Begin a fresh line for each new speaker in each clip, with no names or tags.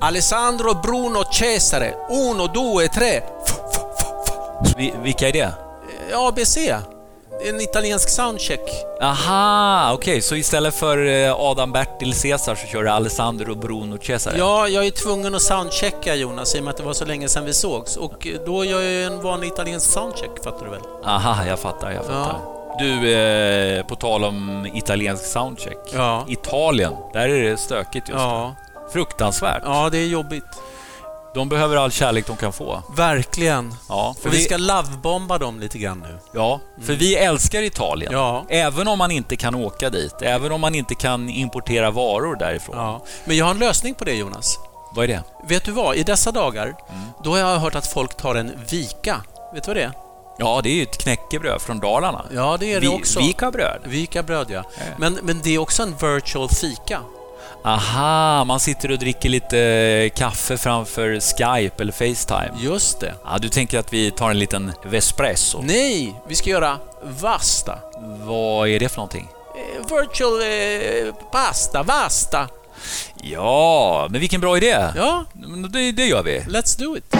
Alessandro Bruno Cesare. Uno, due, tre. F- f- f- f-
Vi, vilka är det?
ABC. En italiensk soundcheck.
Aha, okej, så istället för eh, Adam Bertil Caesar så kör du Alessandro Bruno Cesare?
Ja, jag är tvungen att soundchecka Jonas i och med att det var så länge sedan vi sågs. Och då gör jag en vanlig italiensk soundcheck, fattar du väl?
Aha, jag fattar, jag fattar. Du, eh, på tal om italiensk soundcheck.
Ja.
Italien, där är det stökigt just nu.
Ja,
Fruktansvärt.
ja det är jobbigt.
De behöver all kärlek de kan få.
Verkligen.
Ja,
För
för
vi
vi-
ska lovebomba dem lite grann nu.
Ja, för vi älskar Italien.
Ja.
Även om man inte kan åka dit, även om man inte kan importera varor därifrån.
Ja. Men jag har en lösning på det Jonas.
Vad är det?
Vet du vad? I dessa dagar, då har jag hört att folk tar en vika. Vet du vad det är?
Ja, det är ju ett knäckebröd från Dalarna.
Ja, det är det
Vi-
också.
Vikabröd.
Vikabröd, ja.
Ja, ja.
Men, men det är också en virtual fika.
Aha, man sitter och dricker lite eh, kaffe framför Skype eller Facetime.
Just det.
Ja, du tänker att vi tar en liten Vespresso.
Nej, vi ska göra vasta.
Vad är det för någonting?
Eh, Virtual eh, pasta, vasta.
Ja, men vilken bra idé!
Ja,
Men Det, det gör vi.
let's do it.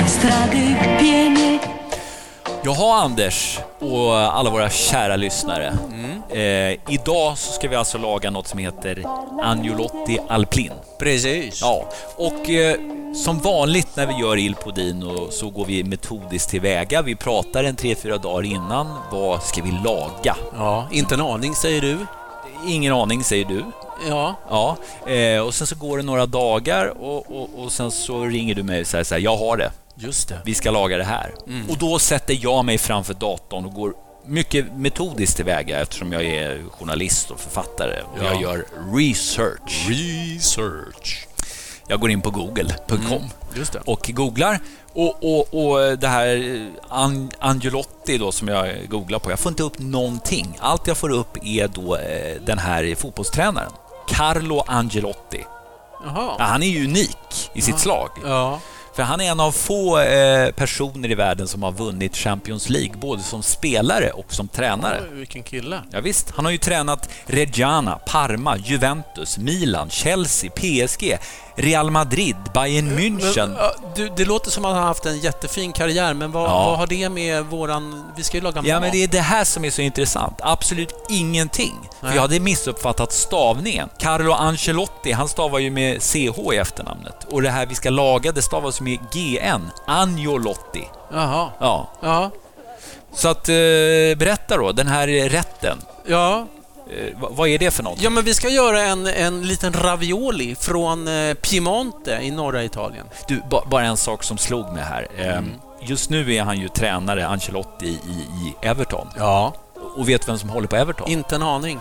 La strade piene
Jaha, Anders och alla våra kära lyssnare.
Mm.
Eh, idag så ska vi alltså laga något som heter Agnolotti al Plin.
Precis.
Ja, och eh, som vanligt när vi gör Il Podino så går vi metodiskt tillväga. Vi pratar en tre, fyra dagar innan. Vad ska vi laga?
ja, inte en aning säger du.
Ingen aning, säger du.
Ja,
Ja, eh, och sen så går det några dagar och, och, och sen så ringer du mig och säger så här, jag har det.
just det.
vi ska laga det här.
Mm.
Och då sätter jag mig framför datorn och går mycket metodiskt tillväga eftersom jag är journalist och författare och
Ja.
jag gör research.
Research.
Jag går in på google.com
Just det.
och googlar och, och, och det här eh, An- Angelotti då som jag googlar på, jag får inte upp någonting. Allt jag får upp är då eh, den här fotbollstränaren. Carlo Angelotti. Ja,
Jaha.
han är ju unik i sitt slag.
Ja.
För han är en av få eh, personer i världen som har vunnit Champions League, både som spelare och som tränare.
Oj, vilken kille.
Ja, visst, han har ju tränat Reggiana, Parma, Juventus, Milan, Chelsea, PSG, Real Madrid, Bayern
Men,
München.
ja, du, det låter som att han har haft en jättefin karriär, men vad,
Ja.
vad har det med våran... Vi ska ju laga
Ja,
mat.
men det är det här som är så intressant. Absolut ingenting. För
Nej.
jag hade missuppfattat stavningen. Carlo Ancelotti, han stavar ju med CH i efternamnet. Och det här vi ska laga, det stavas med GN, Angelotti.
Jaha.
Ja,
Ja.
Så att, eh, berätta då, den här rätten.
Ja.
Eh, vad, vad är det för något?
ja, men vi ska göra en, en liten ravioli från eh, Piemonte i norra Italien.
Du, ba, bara en sak som slog mig här. Eh,
Mm.
Just nu är han ju tränare, Ancelotti, i, i Everton.
Ja.
Och vet vem som håller på Everton?
Inte en aning.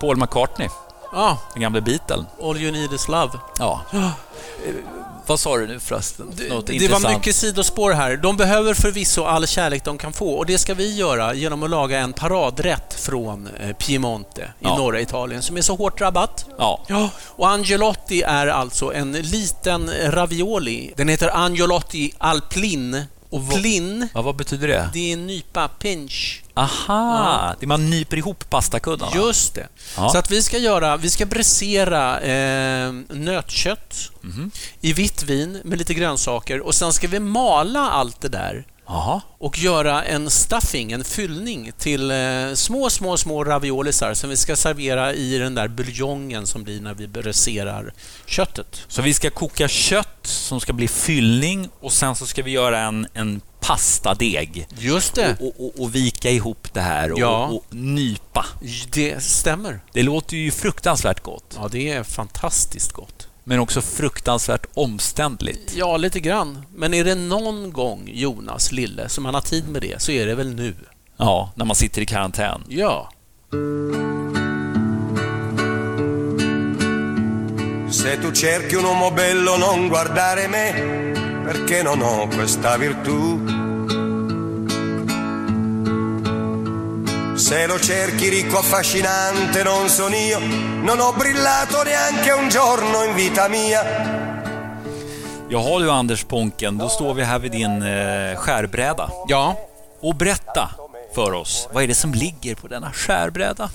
Paul McCartney,
Ja,
den gamle Beatlen.
All you need is love.
Ja. Eh, Vad sa du nu förresten?
Det,
Något
det
intressant.
var mycket sidospår här. De behöver förvisso all kärlek de kan få och det ska vi göra genom att laga en paradrätt från eh, Piemonte i
Ja.
norra Italien som är så hårt drabbat.
Ja.
Ja, och Angelotti är alltså en liten ravioli. Den heter Angelotti al plin. Och plin,
ja, vad betyder det?
det är en nypa, pinch.
Aha, det man nyper ihop pastakuddarna.
Just det.
Ja.
Så att vi ska göra, vi ska brisera eh, nötkött i vitt vin med lite grönsaker och sen ska vi mala allt det där
Aha.
och göra en stuffing, en fyllning till eh, små, små, små raviolisar som vi ska servera i den där buljongen som blir när vi bräserar köttet.
Så vi ska koka kött som ska bli fyllning och sen så ska vi göra en, en pastadeg.
Just det.
och, och, och vika ihop det här och,
Ja.
och nypa.
Det stämmer.
Det låter ju fruktansvärt gott,
Ja, det är fantastiskt gott.
men också fruktansvärt omständligt.
Ja, lite grann. Men är det någon gång, Jonas lille, som han har tid med det, så är det väl nu.
Ja, när man sitter i karantän.
Ja.
Se tu cerchi un uomo bello non guardare me, perché non ho questa virtù. Se lo cerchi ricco affascinante non sono io, non ho brillato neanche un giorno in vita mia.
Jaha du Anders Ponken, då står vi här vid din eh, skärbräda.
Ja.
Och berätta för oss, vad är det som ligger på denna skärbräda?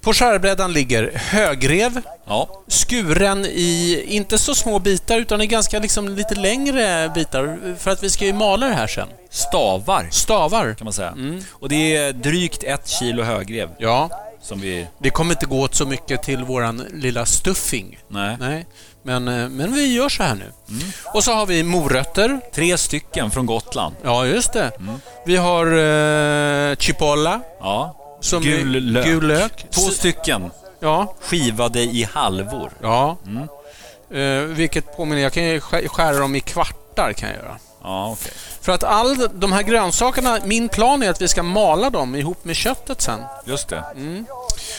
På skärbrädan ligger högrev,
Ja,
skuren i inte så små bitar utan i ganska liksom lite längre bitar för att vi ska ju mala det här sen.
stavar
Stavar.
kan man säga.
Mm.
Och det är drygt ett kilo högrev
Ja,
som vi...
det kommer inte gå åt så mycket till våran lilla stuffing.
Nej. Mm.
Nej. Men, eh, men vi gör så här nu. Och så har vi morötter.
Tre stycken från Gotland.
Ja, just det.
Mm.
Vi har eh, chipolla.
Ja.
Som
gul,
är-
lök.
gul lök.
Två stycken
Ja,
skivade i halvor.
ja. Eh, vilket påminner, jag kan ju skär- skära dem i kvartar kan jag göra.
Ja, okej.
För att all de här grönsakerna, min plan är att vi ska mala dem ihop med köttet sen.
Just det.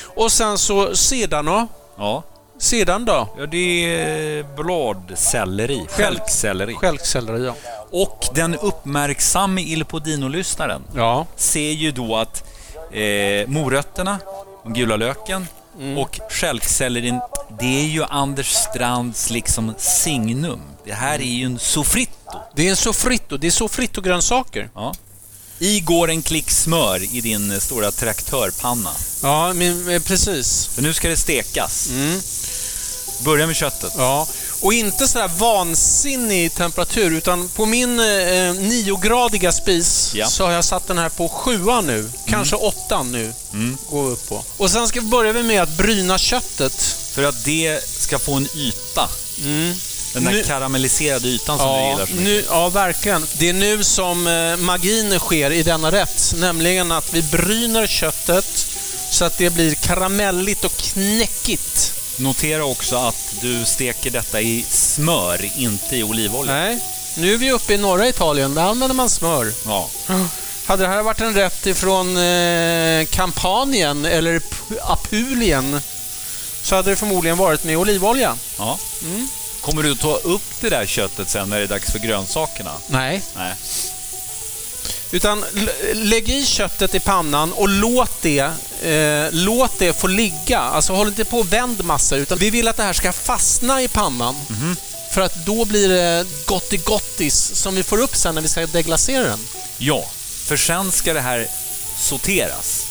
Och sen så sedan då?
Ja.
Sedan då?
ja, det är bladselleri. Stjälkselleri.
Stjälkselleri ja.
Och den uppmärksamme Il Podino-lyssnaren
Ja,
ser ju då att eh, morötterna, den gula löken
Mm.
och stjälksellerin, det är ju Anders Strands liksom signum. Det här är ju en soffritto.
det är en soffritto. Det är soffritto-grönsaker.
Ja. I går en klick smör i din eh, stora traktörpanna.
Ja, men, eh, precis.
Så nu ska det stekas.
Mm.
Börja med köttet.
Ja. Och inte sådär vansinnig temperatur, utan på min eh, niogradiga spis
Ja. Mm.
så har jag satt den här på sjuan nu. Kanske åttan nu. Går upp på. Och sen ska vi börja med att bryna köttet.
För att det ska få en yta. Den där
Mm. Nu-
karamelliserade ytan som du gillar så mycket.
nu, ja, verkligen. Det är nu som eh, magin sker i denna rätt. Nämligen att vi bryner köttet så att det blir karamelligt och knäckigt.
Notera också att du steker detta i smör, inte i olivolja.
Nej, nu är vi uppe i norra Italien. Där använder man smör.
Ja.
Hade det här varit en rätt ifrån eh, Kampanien eller P- Apulien så hade det förmodligen varit med olivolja.
ja. Kommer du ta upp det där köttet sen när det är dags för grönsakerna?
Nej.
Nej.
Utan l- lägg i köttet i pannan och låt det, eh, låt det få ligga. Alltså håll inte på och vänd massa utan vi vill att det här ska fastna i pannan. För att då blir det gottigottis som vi får upp sen när vi ska deglacera den.
Ja, för sen ska det här sorteras.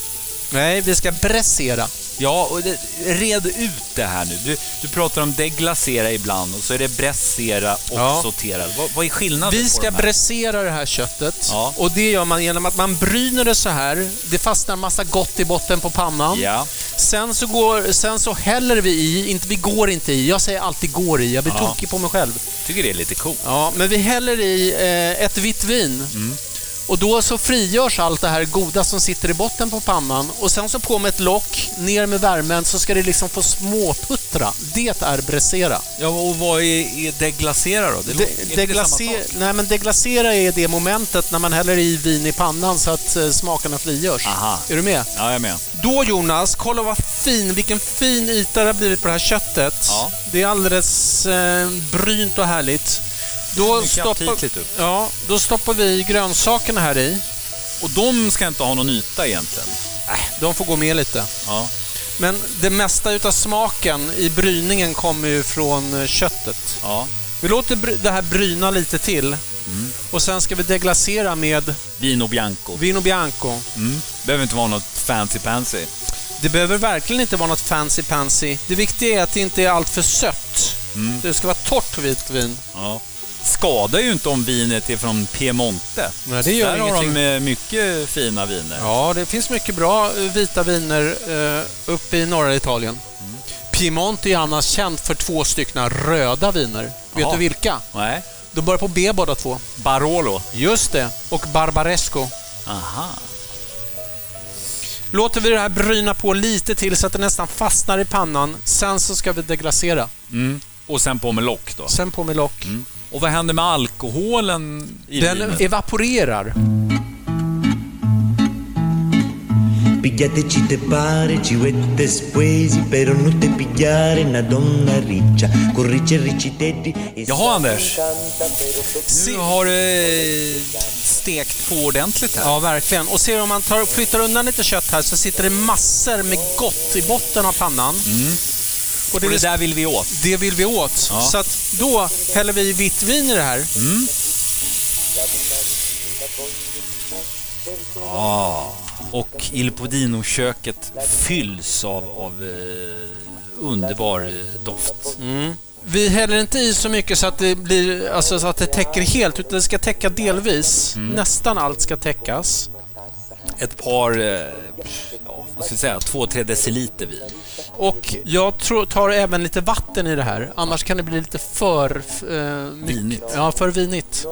Nej, vi ska bressera.
Ja, och det, red ut det här nu. Du, du pratar om deglacera ibland och så är det bressera och
Ja.
sortera. Vad, vad är skillnaden
Vi
på
ska
de här?
bressera det här köttet
Ja.
och det gör man genom att man bryner det så här. Det fastnar massa gott i botten på pannan.
Ja.
Sen, så går, sen så häller vi i, inte, vi går inte i, jag säger alltid går i, jag blir
Ja.
tokig på mig själv.
tycker det är lite coolt.
Ja, men vi häller i eh, ett vitt vin. Och då så frigörs allt det här goda som sitter i botten på pannan och sen så på med ett lock, ner med värmen så ska det liksom få småputtra. Det är bressera.
Ja, och vad är, är deglacera då? Det, låter- är
De,
inte det samma
deglacer,
sak?
nej, men deglacera är det momentet när man häller i vin i pannan så att eh, smakerna frigörs.
Aha.
Är du med?
Ja, jag är med.
Då Jonas, kolla vad fin, vilken fin yta det har blivit på det här köttet.
Ja.
Det är alldeles eh, brynt och härligt. Då
mycket aptitligt
stoppar,
upp.
ja, då stoppar vi grönsakerna här i.
Och de ska inte ha någon yta egentligen.
De får gå med lite.
Ja.
Men det mesta utav smaken i bryningen kommer ju från eh, köttet.
ja.
Vi låter bry- det här bryna lite till
Mm.
och sen ska vi deglacera med
Vino bianco.
Vino Bianco.
Mm. Behöver inte vara något fancy pansy.
Det behöver verkligen inte vara något fancy pansy. Det viktiga är att det inte är allt för sött. Det ska vara torrt vitt vin.
Ja. Skadar ju inte om vinet är från Piemonte.
Nej, det gör
Där har de
ingenting.
eh, mycket fina viner.
Ja, det finns mycket bra eh, vita viner eh, uppe i norra Italien. Piemonte är ju annars känt för två stycken röda viner.
Jaha.
Vet du vilka?
Nej.
De börjar på B båda två.
Barolo.
Just det. Och Barbaresco.
Aha.
Låter vi det här bryna på lite till så att det nästan fastnar i pannan. Sen så ska vi deglacera.
Och sen på med lock då.
Sen på med lock.
Och vad händer med alkoholen i
Den
vinet?
evaporerar.
Pigliateci te pare, ciuette spesi, però non te pigliare una donna riccia, con ricci e ricci tetti e
Jaha Anders, nu
Se,
har du eh, stekt på ordentligt här.
ja, verkligen. Och ser om man tar, flyttar undan lite kött här så sitter det massor med gott i botten av pannan. Och det,
Mm. Och
är
det där vill vi åt.
Det vill vi åt.
Ja. Mm.
Så att då häller vi vitt vin i det här.
Och Il Podino-köket fylls av, av eh, underbar eh, doft.
Mm. Vi häller inte i så mycket så att det, blir, alltså, så att det täcker helt, utan det ska täcka delvis.
Mm.
Nästan allt ska täckas.
Ett par, eh, ja, vad ska jag säga, två, tre deciliter vin.
Och jag tror, tar även lite vatten i det här, annars kan det bli lite för... f- Eh, mycket-
Vinigt.
Ja, för vinigt.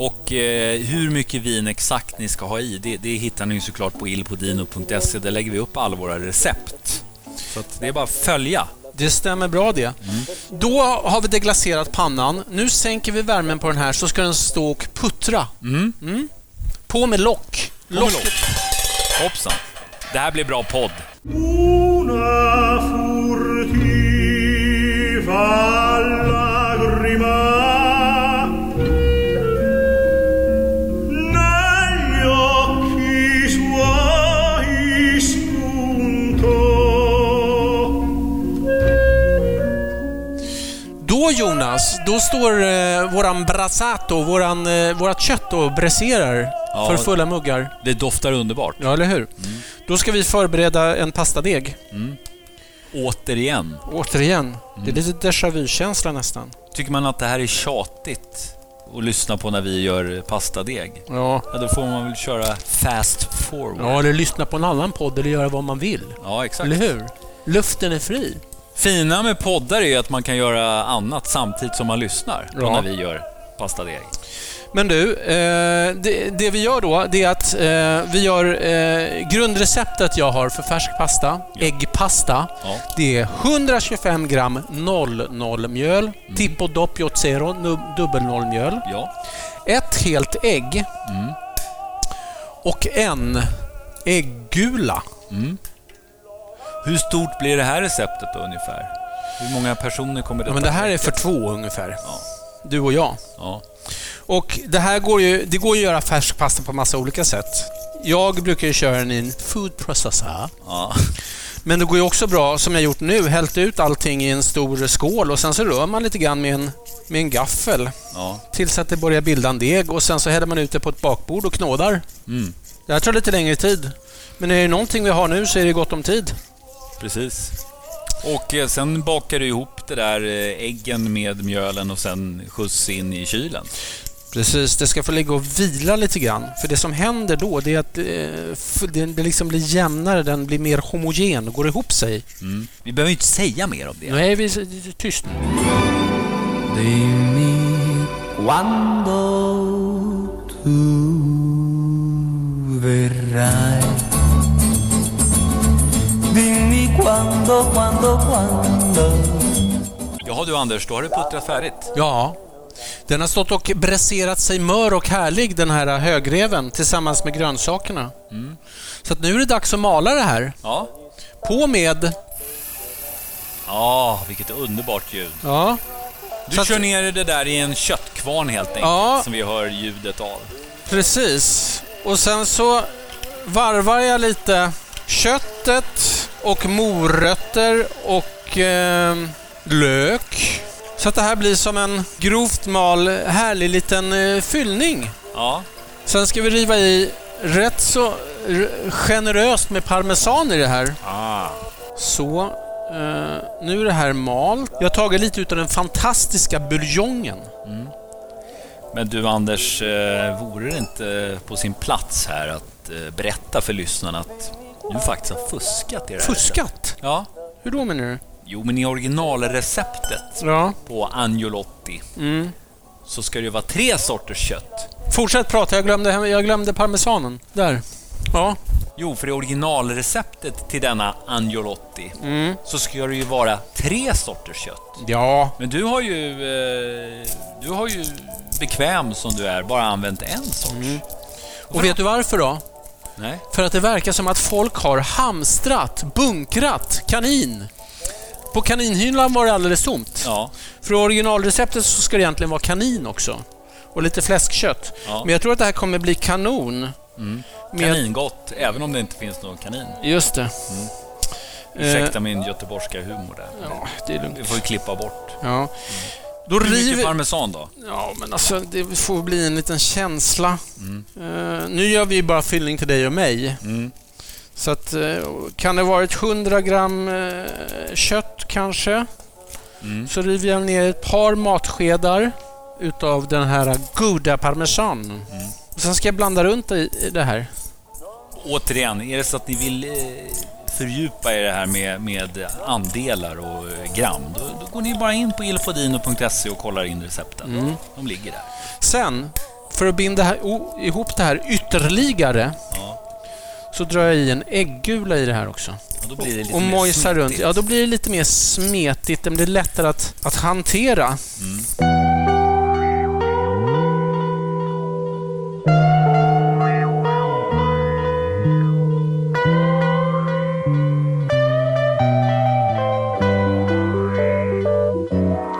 Och eh, hur mycket vin exakt ni ska ha i, det, det hittar ni ju såklart på ilpodino.se. Där lägger vi upp alla våra recept. Så att det är bara att följa.
Det stämmer bra det. Då har vi deglacerat pannan. Nu sänker vi värmen på den här så ska den stå och puttra. Mm. På med lock. Locket
Hoppsan! Det här blir bra podd.
Una furtiva lagrima negli occhi suoi spuntò.
Då Jonas, då står eh, våran brasato, våran, eh, vårat kött och bräserar
Ja.
för fulla muggar.
Det doftar underbart.
Ja, eller hur? Då ska vi förbereda en pastadeg.
Återigen.
Återigen, det är lite déjà vu-känsla nästan.
Tycker man att det här är tjatigt att lyssna på när vi gör pastadeg?
Ja.
Ja, då får man väl köra fast forward.
ja, eller lyssna på en annan podd eller göra vad man vill.
Ja, exakt.
Eller hur? Luften är fri.
Fina med poddar är ju att man kan göra annat samtidigt som man lyssnar på
Ja.
när vi gör pastadeg.
Men du, eh, det, det vi gör då, det är att eh, vi gör eh, grundreceptet jag har för färsk pasta,
Ja.
äggpasta.
Ja.
Det är 125 gram 00 mjöl,
Mm.
tipo doppio zero, nu- dubbel noll mjöl,
Ja.
ett helt ägg
Mm.
och en ägggula.
Hur stort blir det här receptet då ungefär? Hur många personer kommer det
Ja, men det här är för två ungefär. Du och jag.
Ja.
Och det här går ju, det går ju att göra färsk pasta på massa olika sätt. Jag brukar ju köra den i en food processor.
Ja.
Men det går ju också bra, som jag gjort nu, hällt ut allting i en stor skål och sen så rör man lite grann med en, med en gaffel
ja.
tills att det börjar bilda en deg och sen så häller man ut det på ett bakbord och knådar.
Mm.
Det här tar lite längre tid. Men är det någonting vi har nu så är det gott om tid.
Precis. Och eh, sen bakar du ihop det där eh, äggen med mjölen och sen skjuts in i kylen.
Precis, det ska få ligga och vila lite grann. För det som händer då det är att eh, f- den blir liksom blir jämnare, den blir mer homogen och går ihop sig.
Mm. Vi behöver ju inte säga mer om det.
Nu är vi s- tyst.
Dimmi quando tu verrai. Dimmi quando, quando, quando.
Jaha du Anders, då har det puttrat färdigt.
Ja. Den har stått och bräserat sig mör och härlig den här högreven tillsammans med grönsakerna. Så att nu är det dags att mala det här.
Ja.
På med...
Ja, vilket underbart ljud.
Ja.
Du
Så att-
kör ner det där i en köttkvarn helt enkelt,
Ja.
som vi hör ljudet av.
Precis. Och sen så varvar jag lite köttet och morötter och ehm, lök. Så att det här blir som en grovt mal härlig liten eh, fyllning.
Ja,
Sen ska vi riva i rätt så r- generöst med parmesan i det här. Så. eh, nu är det här malt. Jag har tagit lite utav den fantastiska buljongen.
men du Anders, eh, vore det inte på sin plats här att eh, berätta för lyssnarna att du faktiskt har fuskat i det här?
Fuskat!
Ja.
Hur då menar du?
Jo, men i originalreceptet
Ja.
på Angiolotti så ska det ju vara tre sorters kött.
Fortsätt prata, jag glömde, jag glömde parmesanen. Där. Ja.
Jo, för i originalreceptet till denna Angiolotti så ska det ju vara tre sorters kött.
Ja.
Men du har ju... Eh, du har ju bekväm som du är, bara använt en sorts.
Och vet du varför då?
Nej.
För att det verkar som att folk har hamstrat, bunkrat kanin. På kaninhyllan var det alldeles tomt.
Ja.
För i originalreceptet så ska det egentligen vara kanin också. Och lite fläskkött.
Ja.
Men jag tror att det här kommer bli kanon. Med-
Kaningott, även om det inte finns någon kanin.
Just det. Eh,
Mm. Ursäkta min göteborgska humor där.
ja, det är lugnt.
Vi får ju klippa bort.
Ja. Då
Hur mycket
river...
parmesan då?
Ja, men alltså det får bli en liten känsla. Eh, nu gör vi ju bara fyllning till dig och mig. Så att, eh, kan det varit 100 gram eh, kött kanske? Så river jag ner ett par matskedar utav den här goda parmesan. Och sen ska jag blanda runt i i det här.
Återigen, är det så att ni vill eh, fördjupa er i det här med, med andelar och eh, gram, då, då går ni bara in på ilfodino.se och kollar in recepten.
Mm.
De ligger där.
Sen, för att binda här, o, ihop det här ytterligare,
Ja.
så drar jag i en ägggula i det här också.
Och då blir det lite
och
mer
mojsar
smidigt.
runt. Ja, då blir det lite mer smetigt. Det blir lättare att, att hantera.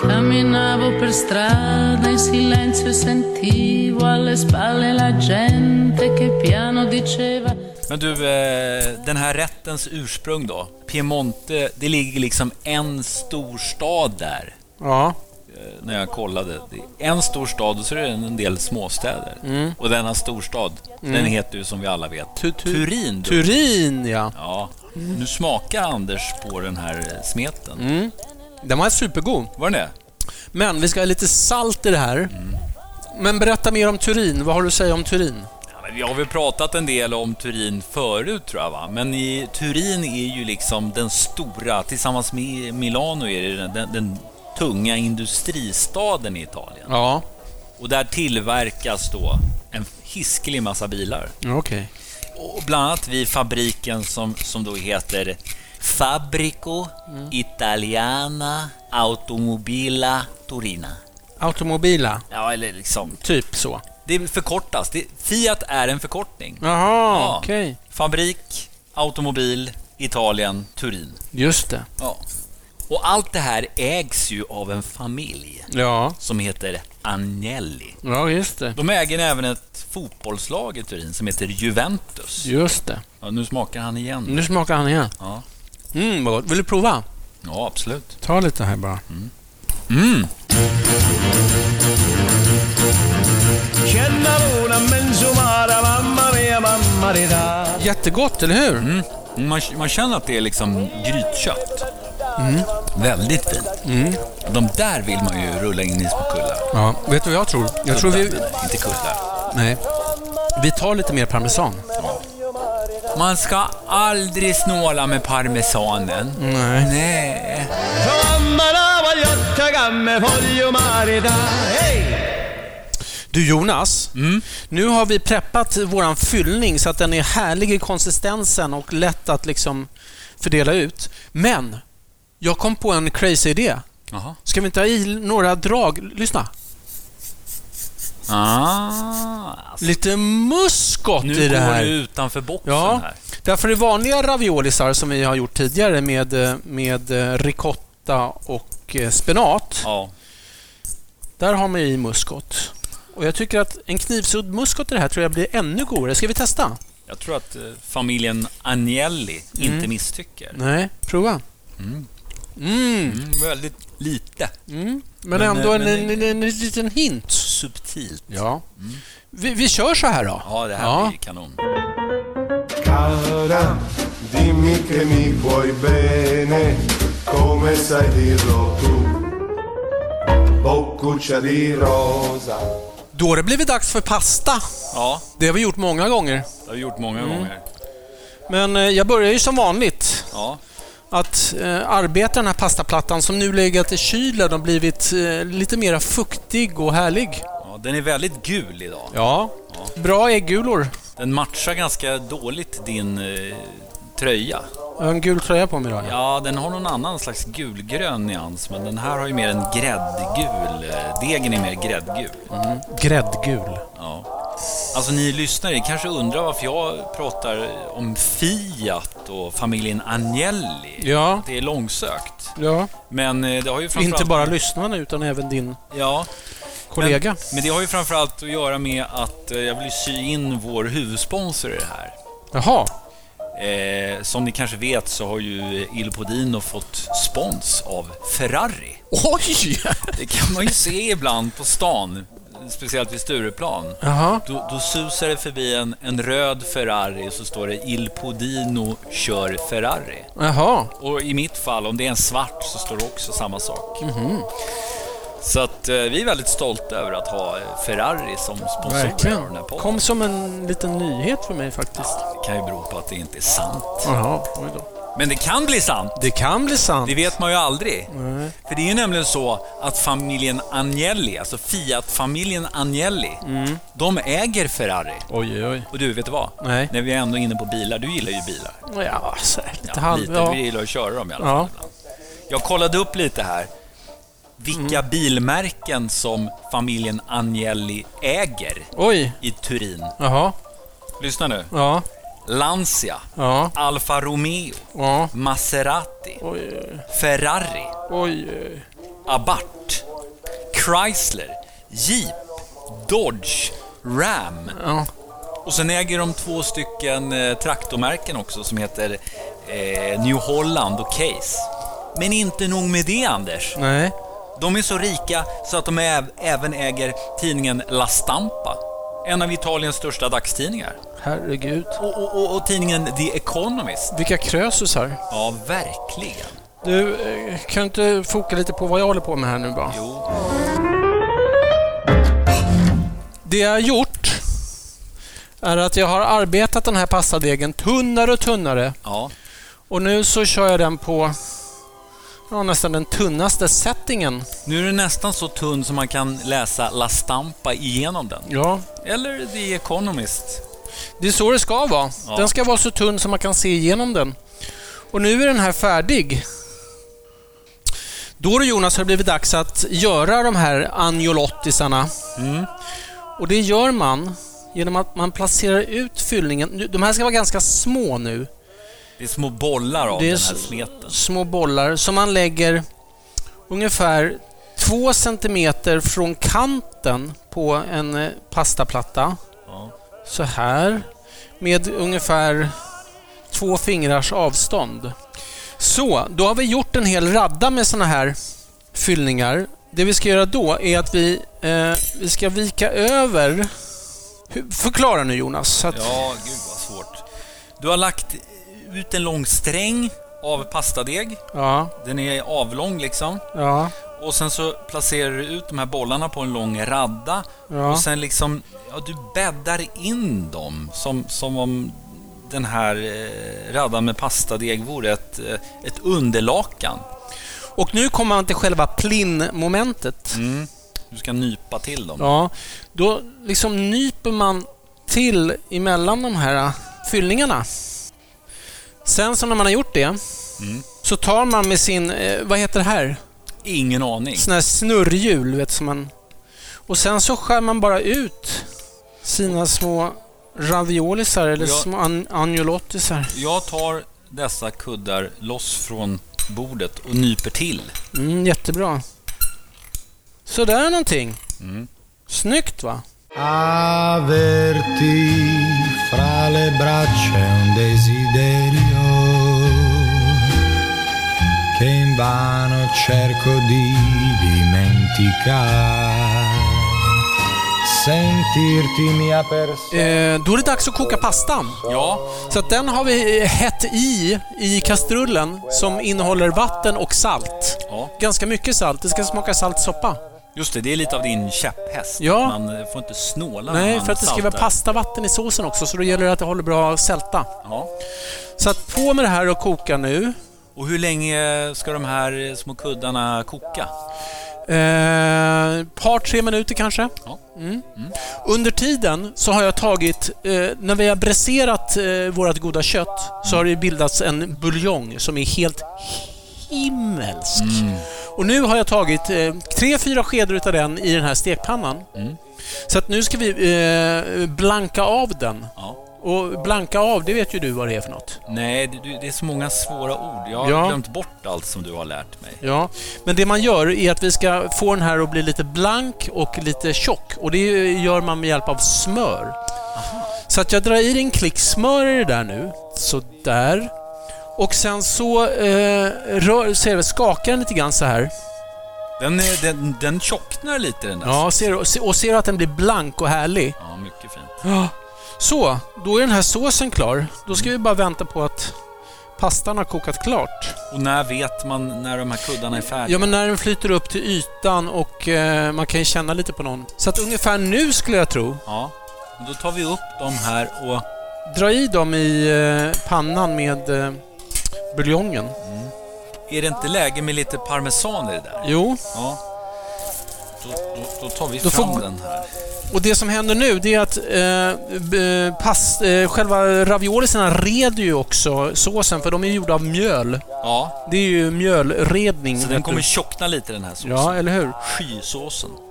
Camminavo per strada in silenzio e sentivo alle spalle la gente che piano diceva
Men du, eh, den här rättens ursprung då? Piemonte, det ligger liksom en stor stad där.
Ja.
eh, när jag kollade. Det är en stor stad och så är det en del småstäder. Och denna storstad, den heter ju som vi alla vet
Mm. Tu- tu-
Turin. då.
Turin, ja.
Ja. Nu smakar Anders på den här eh, smeten.
Mm. Den var supergod.
Var den det?
Men vi ska ha lite salt i det här.
Mm.
Men berätta mer om Turin. Vad har du att säga om Turin?
Ja, men vi har väl pratat en del om Turin förut tror jag va? Men i, Turin är ju liksom den stora, tillsammans med Milano är det den, den, den tunga industristaden i Italien.
Ja,
Och där tillverkas då en hiskelig massa bilar.
okej.
Och bland annat vid fabriken som, som då heter Fabrico Italiana Automobila Torina.
Automobila,
Ja, eller liksom...
typ så.
Det förkortas. Det, Fiat är en förkortning.
Jaha,
Ja.
okej.
Fabrik, automobil, Italien, Turin.
Just det.
Ja. Och allt det här ägs ju av en familj
Ja.
som heter Agnelli.
ja, just det.
De äger även ett fotbollslag i Turin som heter Juventus.
Just det.
Ja, nu smakar han igen.
Nu smakar han igen.
Ja.
Mm, vad gott. Vill du prova?
Ja, absolut.
Ta lite här bara.
Mm,
Jättegott, eller hur?
mm. Man, man känner att det är liksom grytkött.
Mm.
Väldigt fint. De där vill man ju rulla in i små kullar.
Ja, vet du vad jag tror? Jag tror vi...
Inte kullar.
Nej. Vi tar lite mer parmesan.
Man ska aldrig snåla med parmesanen.
Nej.
Nej.
Du Jonas,
Mm.
nu har vi preppat våran fyllning så att den är härlig i konsistensen och lätt att liksom fördela ut. Men, jag kom på en crazy idé.
Jaha.
Ska vi inte ha i några drag? Lyssna.
Ah, alltså,
Lite muskot
nu
i det
går
här.
du utanför boxen
Ja,
här.
därför är vanliga raviolisar som vi har gjort tidigare med, eh, med eh, ricotta och eh, spenat,
Ja.
där har man ju i muskot. Och jag tycker att en knivsudd muskot i det här tror jag blir ännu godare. Ska vi testa?
Jag tror att eh, familjen Agnelli inte
Mm.
misstycker.
Nej, prova.
Mm, väldigt lite
Men,
Men,
ändå
eh, men-
en, en, en, en liten hint.
subtilt.
Ja. Vi, vi kör så här då.
Mm. Ja, det här blir kanon.
Cara, dimmi che mi vuoi bene, come sai dirlo tu. Boccuccia di rosa.
Då har det blivit dags för pasta.
Ja,
Det har vi gjort många gånger.
det har vi gjort många
Mm.
gånger.
Men eh, jag börjar ju som vanligt
Ja.
att eh, arbeta den här pastaplattan som nu legat i kylen och blivit eh, lite mera fuktig och härlig.
Ja, den är väldigt gul idag.
Ja. Bra äggulor.
Den matchar ganska dåligt din eh, tröja.
Jag har en gul tröja på mig idag. Ja.
Ja, den har någon annan slags gulgrön nyans, men den här har ju
Mm.
mer en gräddgul. eh, Degen är mer gräddgul.
Gräddgul.
Ja. Alltså ni lyssnare kanske undrar varför jag pratar om Fiat och familjen Agnelli.
Ja.
Det är långsökt.
Ja.
Men eh, det har ju framförallt...
Inte bara lyssnarna utan även din
Ja.
kollega.
Men, men det har ju framförallt att göra med att eh, jag vill sy in vår huvudsponsor i det här.
Jaha.
Eh, som ni kanske vet så har ju Il Podino fått spons av Ferrari.
Oj!
Det kan man ju se ibland på stan, speciellt vid Stureplan.
Jaha.
Då, då susar det förbi en, en röd Ferrari och så står det Il Podino kör Ferrari.
Jaha.
Och i mitt fall, om det är en svart, så står det också samma sak.
Mhm.
Så att eh, vi är väldigt stolta över att ha eh, Ferrari som sponsor av den här
Verkligen.
podden.
Kom som en liten nyhet för mig faktiskt.
Det kan ju bero på att det inte är sant.
Jaha. Oj då.
Men det kan bli sant!
Det kan bli sant.
Det vet man ju aldrig.
Nej.
För det är ju nämligen så att familjen Agnelli, alltså Fiat-familjen Agnelli,
Mm.
de äger Ferrari.
Oj, oj.
Och du, vet du vad?
Nej.
När vi är ändå inne på bilar, du gillar ju bilar.
Ja, så här, lite
Ja,
halv...
lite.
ja.
Vi gillar att köra dem i alla fall.
Ja.
ibland. Jag kollade upp lite här. Vilka
Mm.
bilmärken som familjen Agnelli äger
Oj.
i Turin.
Jaha.
Lyssna nu.
Ja.
Lancia,
Ja.
Alfa Romeo,
Ja.
Maserati,
Oj, oj,
Ferrari,
oj. oj.
Abarth, Chrysler, Jeep, Dodge, Ram.
Ja.
Och sen äger de två stycken eh, traktormärken också som heter eh, New Holland och Case. Men inte nog med det, Anders.
Nej.
De är så rika så att de äv- även äger tidningen La Stampa. En av Italiens största dagstidningar.
Herregud.
Och, och, och, och tidningen The Economist.
Vilka krösusar.
Ja, verkligen.
Du, eh, kan du inte foka lite på vad jag håller på med här nu bara?
Jo.
Det jag har gjort är att jag har arbetat den här pastadegen tunnare och tunnare.
Ja.
Och nu så kör jag den på ja, nästan den tunnaste settingen.
Nu är den nästan så tunn som man kan läsa La Stampa igenom den.
Ja.
Eller The Economist.
Det är så det ska vara.
Ja.
Den ska vara så tunn som man kan se igenom den. Och nu är den här färdig. Då du Jonas har det blivit dags att göra de här angiolottisarna. Och det gör man genom att man placerar ut fyllningen. Nu- De här ska vara ganska små nu.
Det är små bollar av
Det är
den här
s-
smeten.
Små bollar som man lägger ungefär två centimeter från kanten på en eh, pastaplatta.
Ja.
Så här. Med ungefär två fingrars avstånd. Så, då har vi gjort en hel radda med såna här fyllningar. Det vi ska göra då är att vi, eh, vi ska vika över... Hur- Förklara nu Jonas. Så att,
Ja, gud vad svårt. Du har lagt ut en lång sträng av pastadeg.
ja,
Den är avlång liksom.
ja,
Och sen så placerar du ut de här bollarna på en lång radda.
Ja.
Och sen liksom, ja du bäddar in dem som, som om den här eh, raddan med pastadeg vore ett, eh, ett underlakan.
Och nu kommer man till själva plinn-momentet.
Du ska nypa till dem.
Ja, då liksom nyper man till emellan de här äh, fyllningarna. Sen så när man har gjort det så tar man med sin, eh, vad heter det här?
Ingen aning.
Sån här snurrhjul, vet som man... Och sen så skär man bara ut sina små raviolisar eller
Och jag-
små an- agnolottisar.
Jag tar dessa kuddar loss från bordet och nyper till.
Mm, jättebra. Sådär någonting. Snyggt va?
Averti fra le braccia un desiderio che invano cerco di dimenticare. Sentirti mia persona.
Eh, då är det dags att koka pastan.
Ja,
Så att den har vi eh, hett i, i kastrullen som innehåller vatten och salt.
Ja.
Ganska mycket salt. Det ska smaka saltsoppa.
just det. Det är lite av din käpphäst.
Ja.
Man eh, får inte snåla när
Nej,
man
för att det ska vara
saltar.
pastavatten i såsen också, så då gäller det att det håller bra sälta.
Ja.
Så att på med det här och koka nu.
Och hur länge ska de här eh, små kuddarna koka?
Eh, par, tre minuter kanske.
Ja.
Mm. Under tiden så har jag tagit, eh, när vi har bräserat eh, vårt goda
Mm.
kött, så har det bildats en buljong som är helt himmelsk. Och nu har jag tagit eh, tre, fyra skedar utav den i den här stekpannan.
Mm.
Så att nu ska vi eh, blanka av den.
Ja.
Och blanka av, det vet ju du vad det är för något.
Nej, det, det är så många svåra ord. Jag har
Ja.
glömt bort allt som du har lärt mig.
Ja, men det man gör är att vi ska få den här att bli lite blank och lite tjock. Och det gör man med hjälp av smör. Så att jag drar i en klick smör i det där nu. Så där. Och sen så eh, rör, ser vi, skakar den lite grann så här.
Den, är, den, den tjocknar lite den där.
Ja, ser, och se- och ser att den blir blank och härlig.
ja, mycket fint.
Så, då är den här såsen klar. Då ska vi bara vänta på att pastan har kokat klart.
Och när vet man när de här kuddarna är färdiga?
Ja, men när den flyter upp till ytan och eh, man kan ju känna lite på någon. Så att ungefär nu skulle jag tro.
Ja. Då tar vi upp dem här och...
Dra i dem i eh, pannan med eh, buljongen.
Är det inte läge med lite parmesan i det där?
Jo,
Ja. Då, då, då tar vi
Då
fram
får-
den här.
och det som händer nu det är att eh, b- pas, eh, själva raviolisarna reder ju också såsen för de är gjorda av mjöl.
Ja,
Det är ju mjölredning.
så den kommer tjockna lite den här såsen.
Ja, eller hur?
Skysåsen. Mm.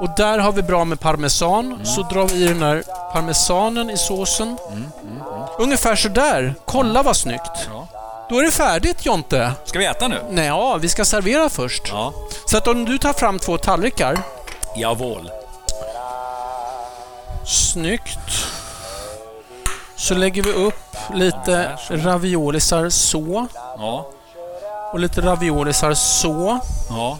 Och där har vi bra med parmesan. Så drar vi i den här parmesanen i såsen. Ungefär sådär. Kolla vad snyggt.
mm, Ja.
Då är det färdigt Jonte.
Ska vi äta nu?
Nej, ja, vi ska servera först.
Ja.
Så att om du tar fram två tallrikar.
Jawohl.
Snyggt. Så lägger vi upp lite raviolisar så.
Ja.
Och lite raviolisar så.
Ja.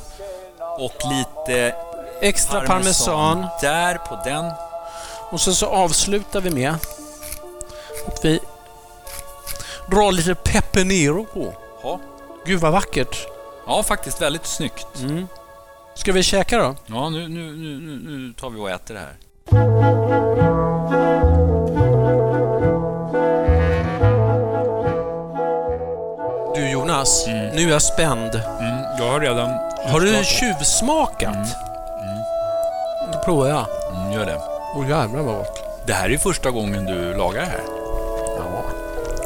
Och lite
Extra parmesan.
Där på den.
Och sen så avslutar vi med att vi drar lite peppenero på.
Ja.
Gud vad vackert.
Ja, faktiskt väldigt snyggt.
Ska vi käka då?
Ja, nu, nu, nu, nu- nu tar vi och äter det här.
Du Jonas, nu är jag spänd.
Mm, jag har redan...
Har
Mm.
du tjuvsmakat? Då provar jag.
Mm, gör det.
Åh jävlar vad gott.
Det här är första gången du lagar det här.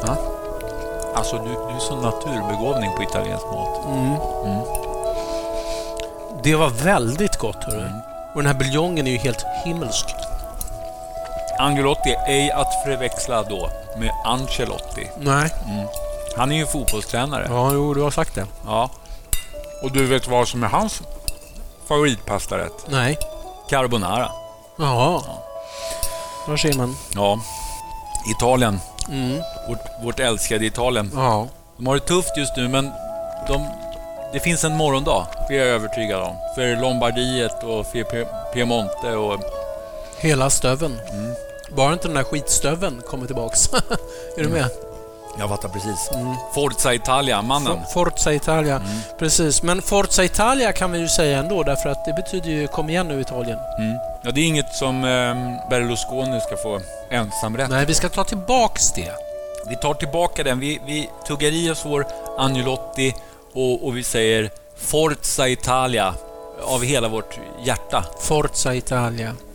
Ja. Alltså, du, du är som naturbegåvning på italiensk mat.
Det var väldigt gott hörru. Och den här buljongen är ju helt himmelsk.
Angelotti, ej att förväxla då med Ancelotti.
Nej.
Han är ju fotbollstränare.
Ja, jo du har sagt det.
Ja. Och du vet vad som är hans favoritpastarätt?
Nej.
Carbonara.
Jaha. Där ser man.
Ja. Italien. Mm. Vårt, vårt älskade Italien.
Ja.
De har det tufft just nu, men de, det finns en morgondag. Det är jag övertygad om. För Lombardiet och för Pie- Piemonte och...
Hela stöven. Bara inte den där skitstöven kommer tillbaks. är du med?
Jag fattar precis. Mm. Forza Italia, mannen.
Forza Italia. Precis. Men Forza Italia kan vi ju säga ändå därför att det betyder ju kom igen nu Italien.
Mm. Ja, det är inget som eh, Berlusconi ska få ensamrätt.
Nej, vi ska ta tillbaks det.
Vi tar tillbaka den. Vi, vi tuggar i oss vår Agnolotti och, och vi säger Forza Italia av hela vårt hjärta.
Forza Italia.